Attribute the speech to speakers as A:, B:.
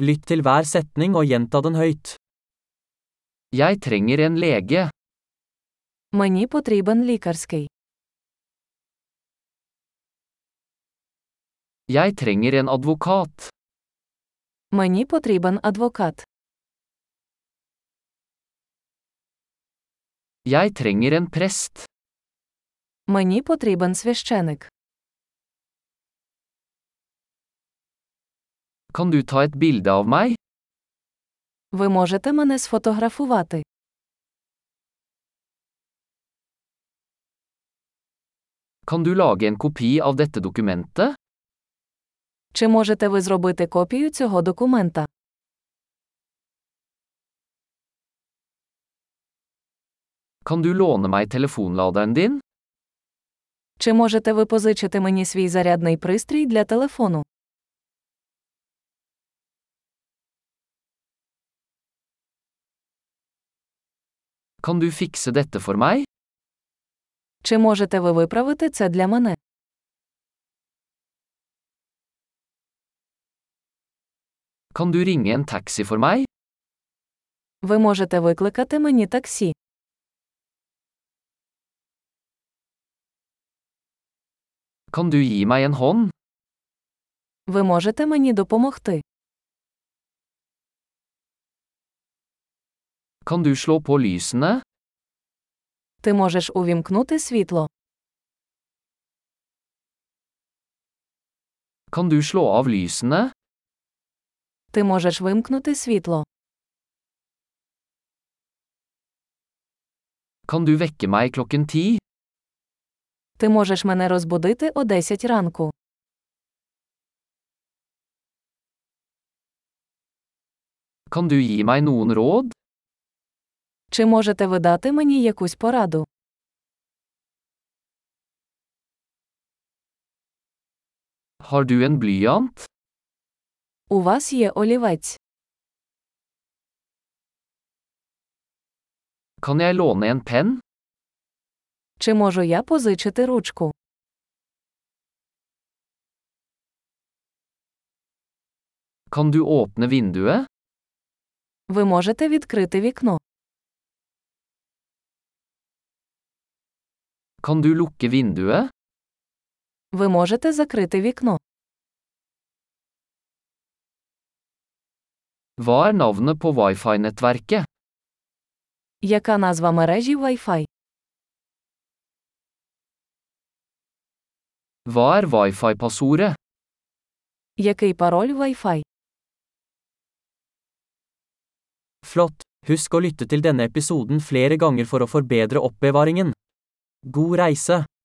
A: Lytt til hver setning og gjenta den høyt. Jeg trenger en lege.
B: Мені потрібен лікарський.
A: Jeg trenger en advokat.
B: Мені потрібен адвокат.
A: Jeg trenger en prest.
B: Мені потрібен священик.
A: Kan du ta et bilde av meg?
B: Ви можете мене сфотографувати.
A: Kan du lage en kopi av dette dokumentet?
B: Чи можете ви зробити копію цього документа?
A: Kan du låne meg telefonladeren din?
B: Чи можете ви позичити мені свій зарядний пристрій для телефону?
A: Kan du fikse dette for meg?
B: Чи можете ви виправити це для мене?
A: Kan du ringe en taxi for meg?
B: Ви можете викликати мені таксі.
A: Kan du gi meg en hånd?
B: Ви можете мені допомогти.
A: Kan du slå på lysene?
B: Ти можеш увімкнути світло.
A: Kan du slå av lysene?
B: Ти можеш вимкнути світло.
A: Kan du vekke meg klokken ti?
B: Ти можеш мене розбудити о 10 ранку.
A: Kan du gi meg noen råd?
B: Чи можете ви дати мені якусь пораду?
A: Har du en blyant?
B: У вас є олівець.
A: Kan jeg låne en penn?
B: Чи можу я позичити ручку?
A: Kan du åpne vinduet?
B: Ви можете відкрити вікно.
A: Kan du lukke vinduet?
B: Ви можете закрити вікно.
A: Hva er navnet på wifi-nettverket?
B: Яка назва мережі Wi-Fi?
A: Hva er wifi-passordet?
B: Який пароль Wi-Fi?
C: Flott! Husk å lytte til denne episoden flere ganger for å forbedre oppbevaringen. God reise!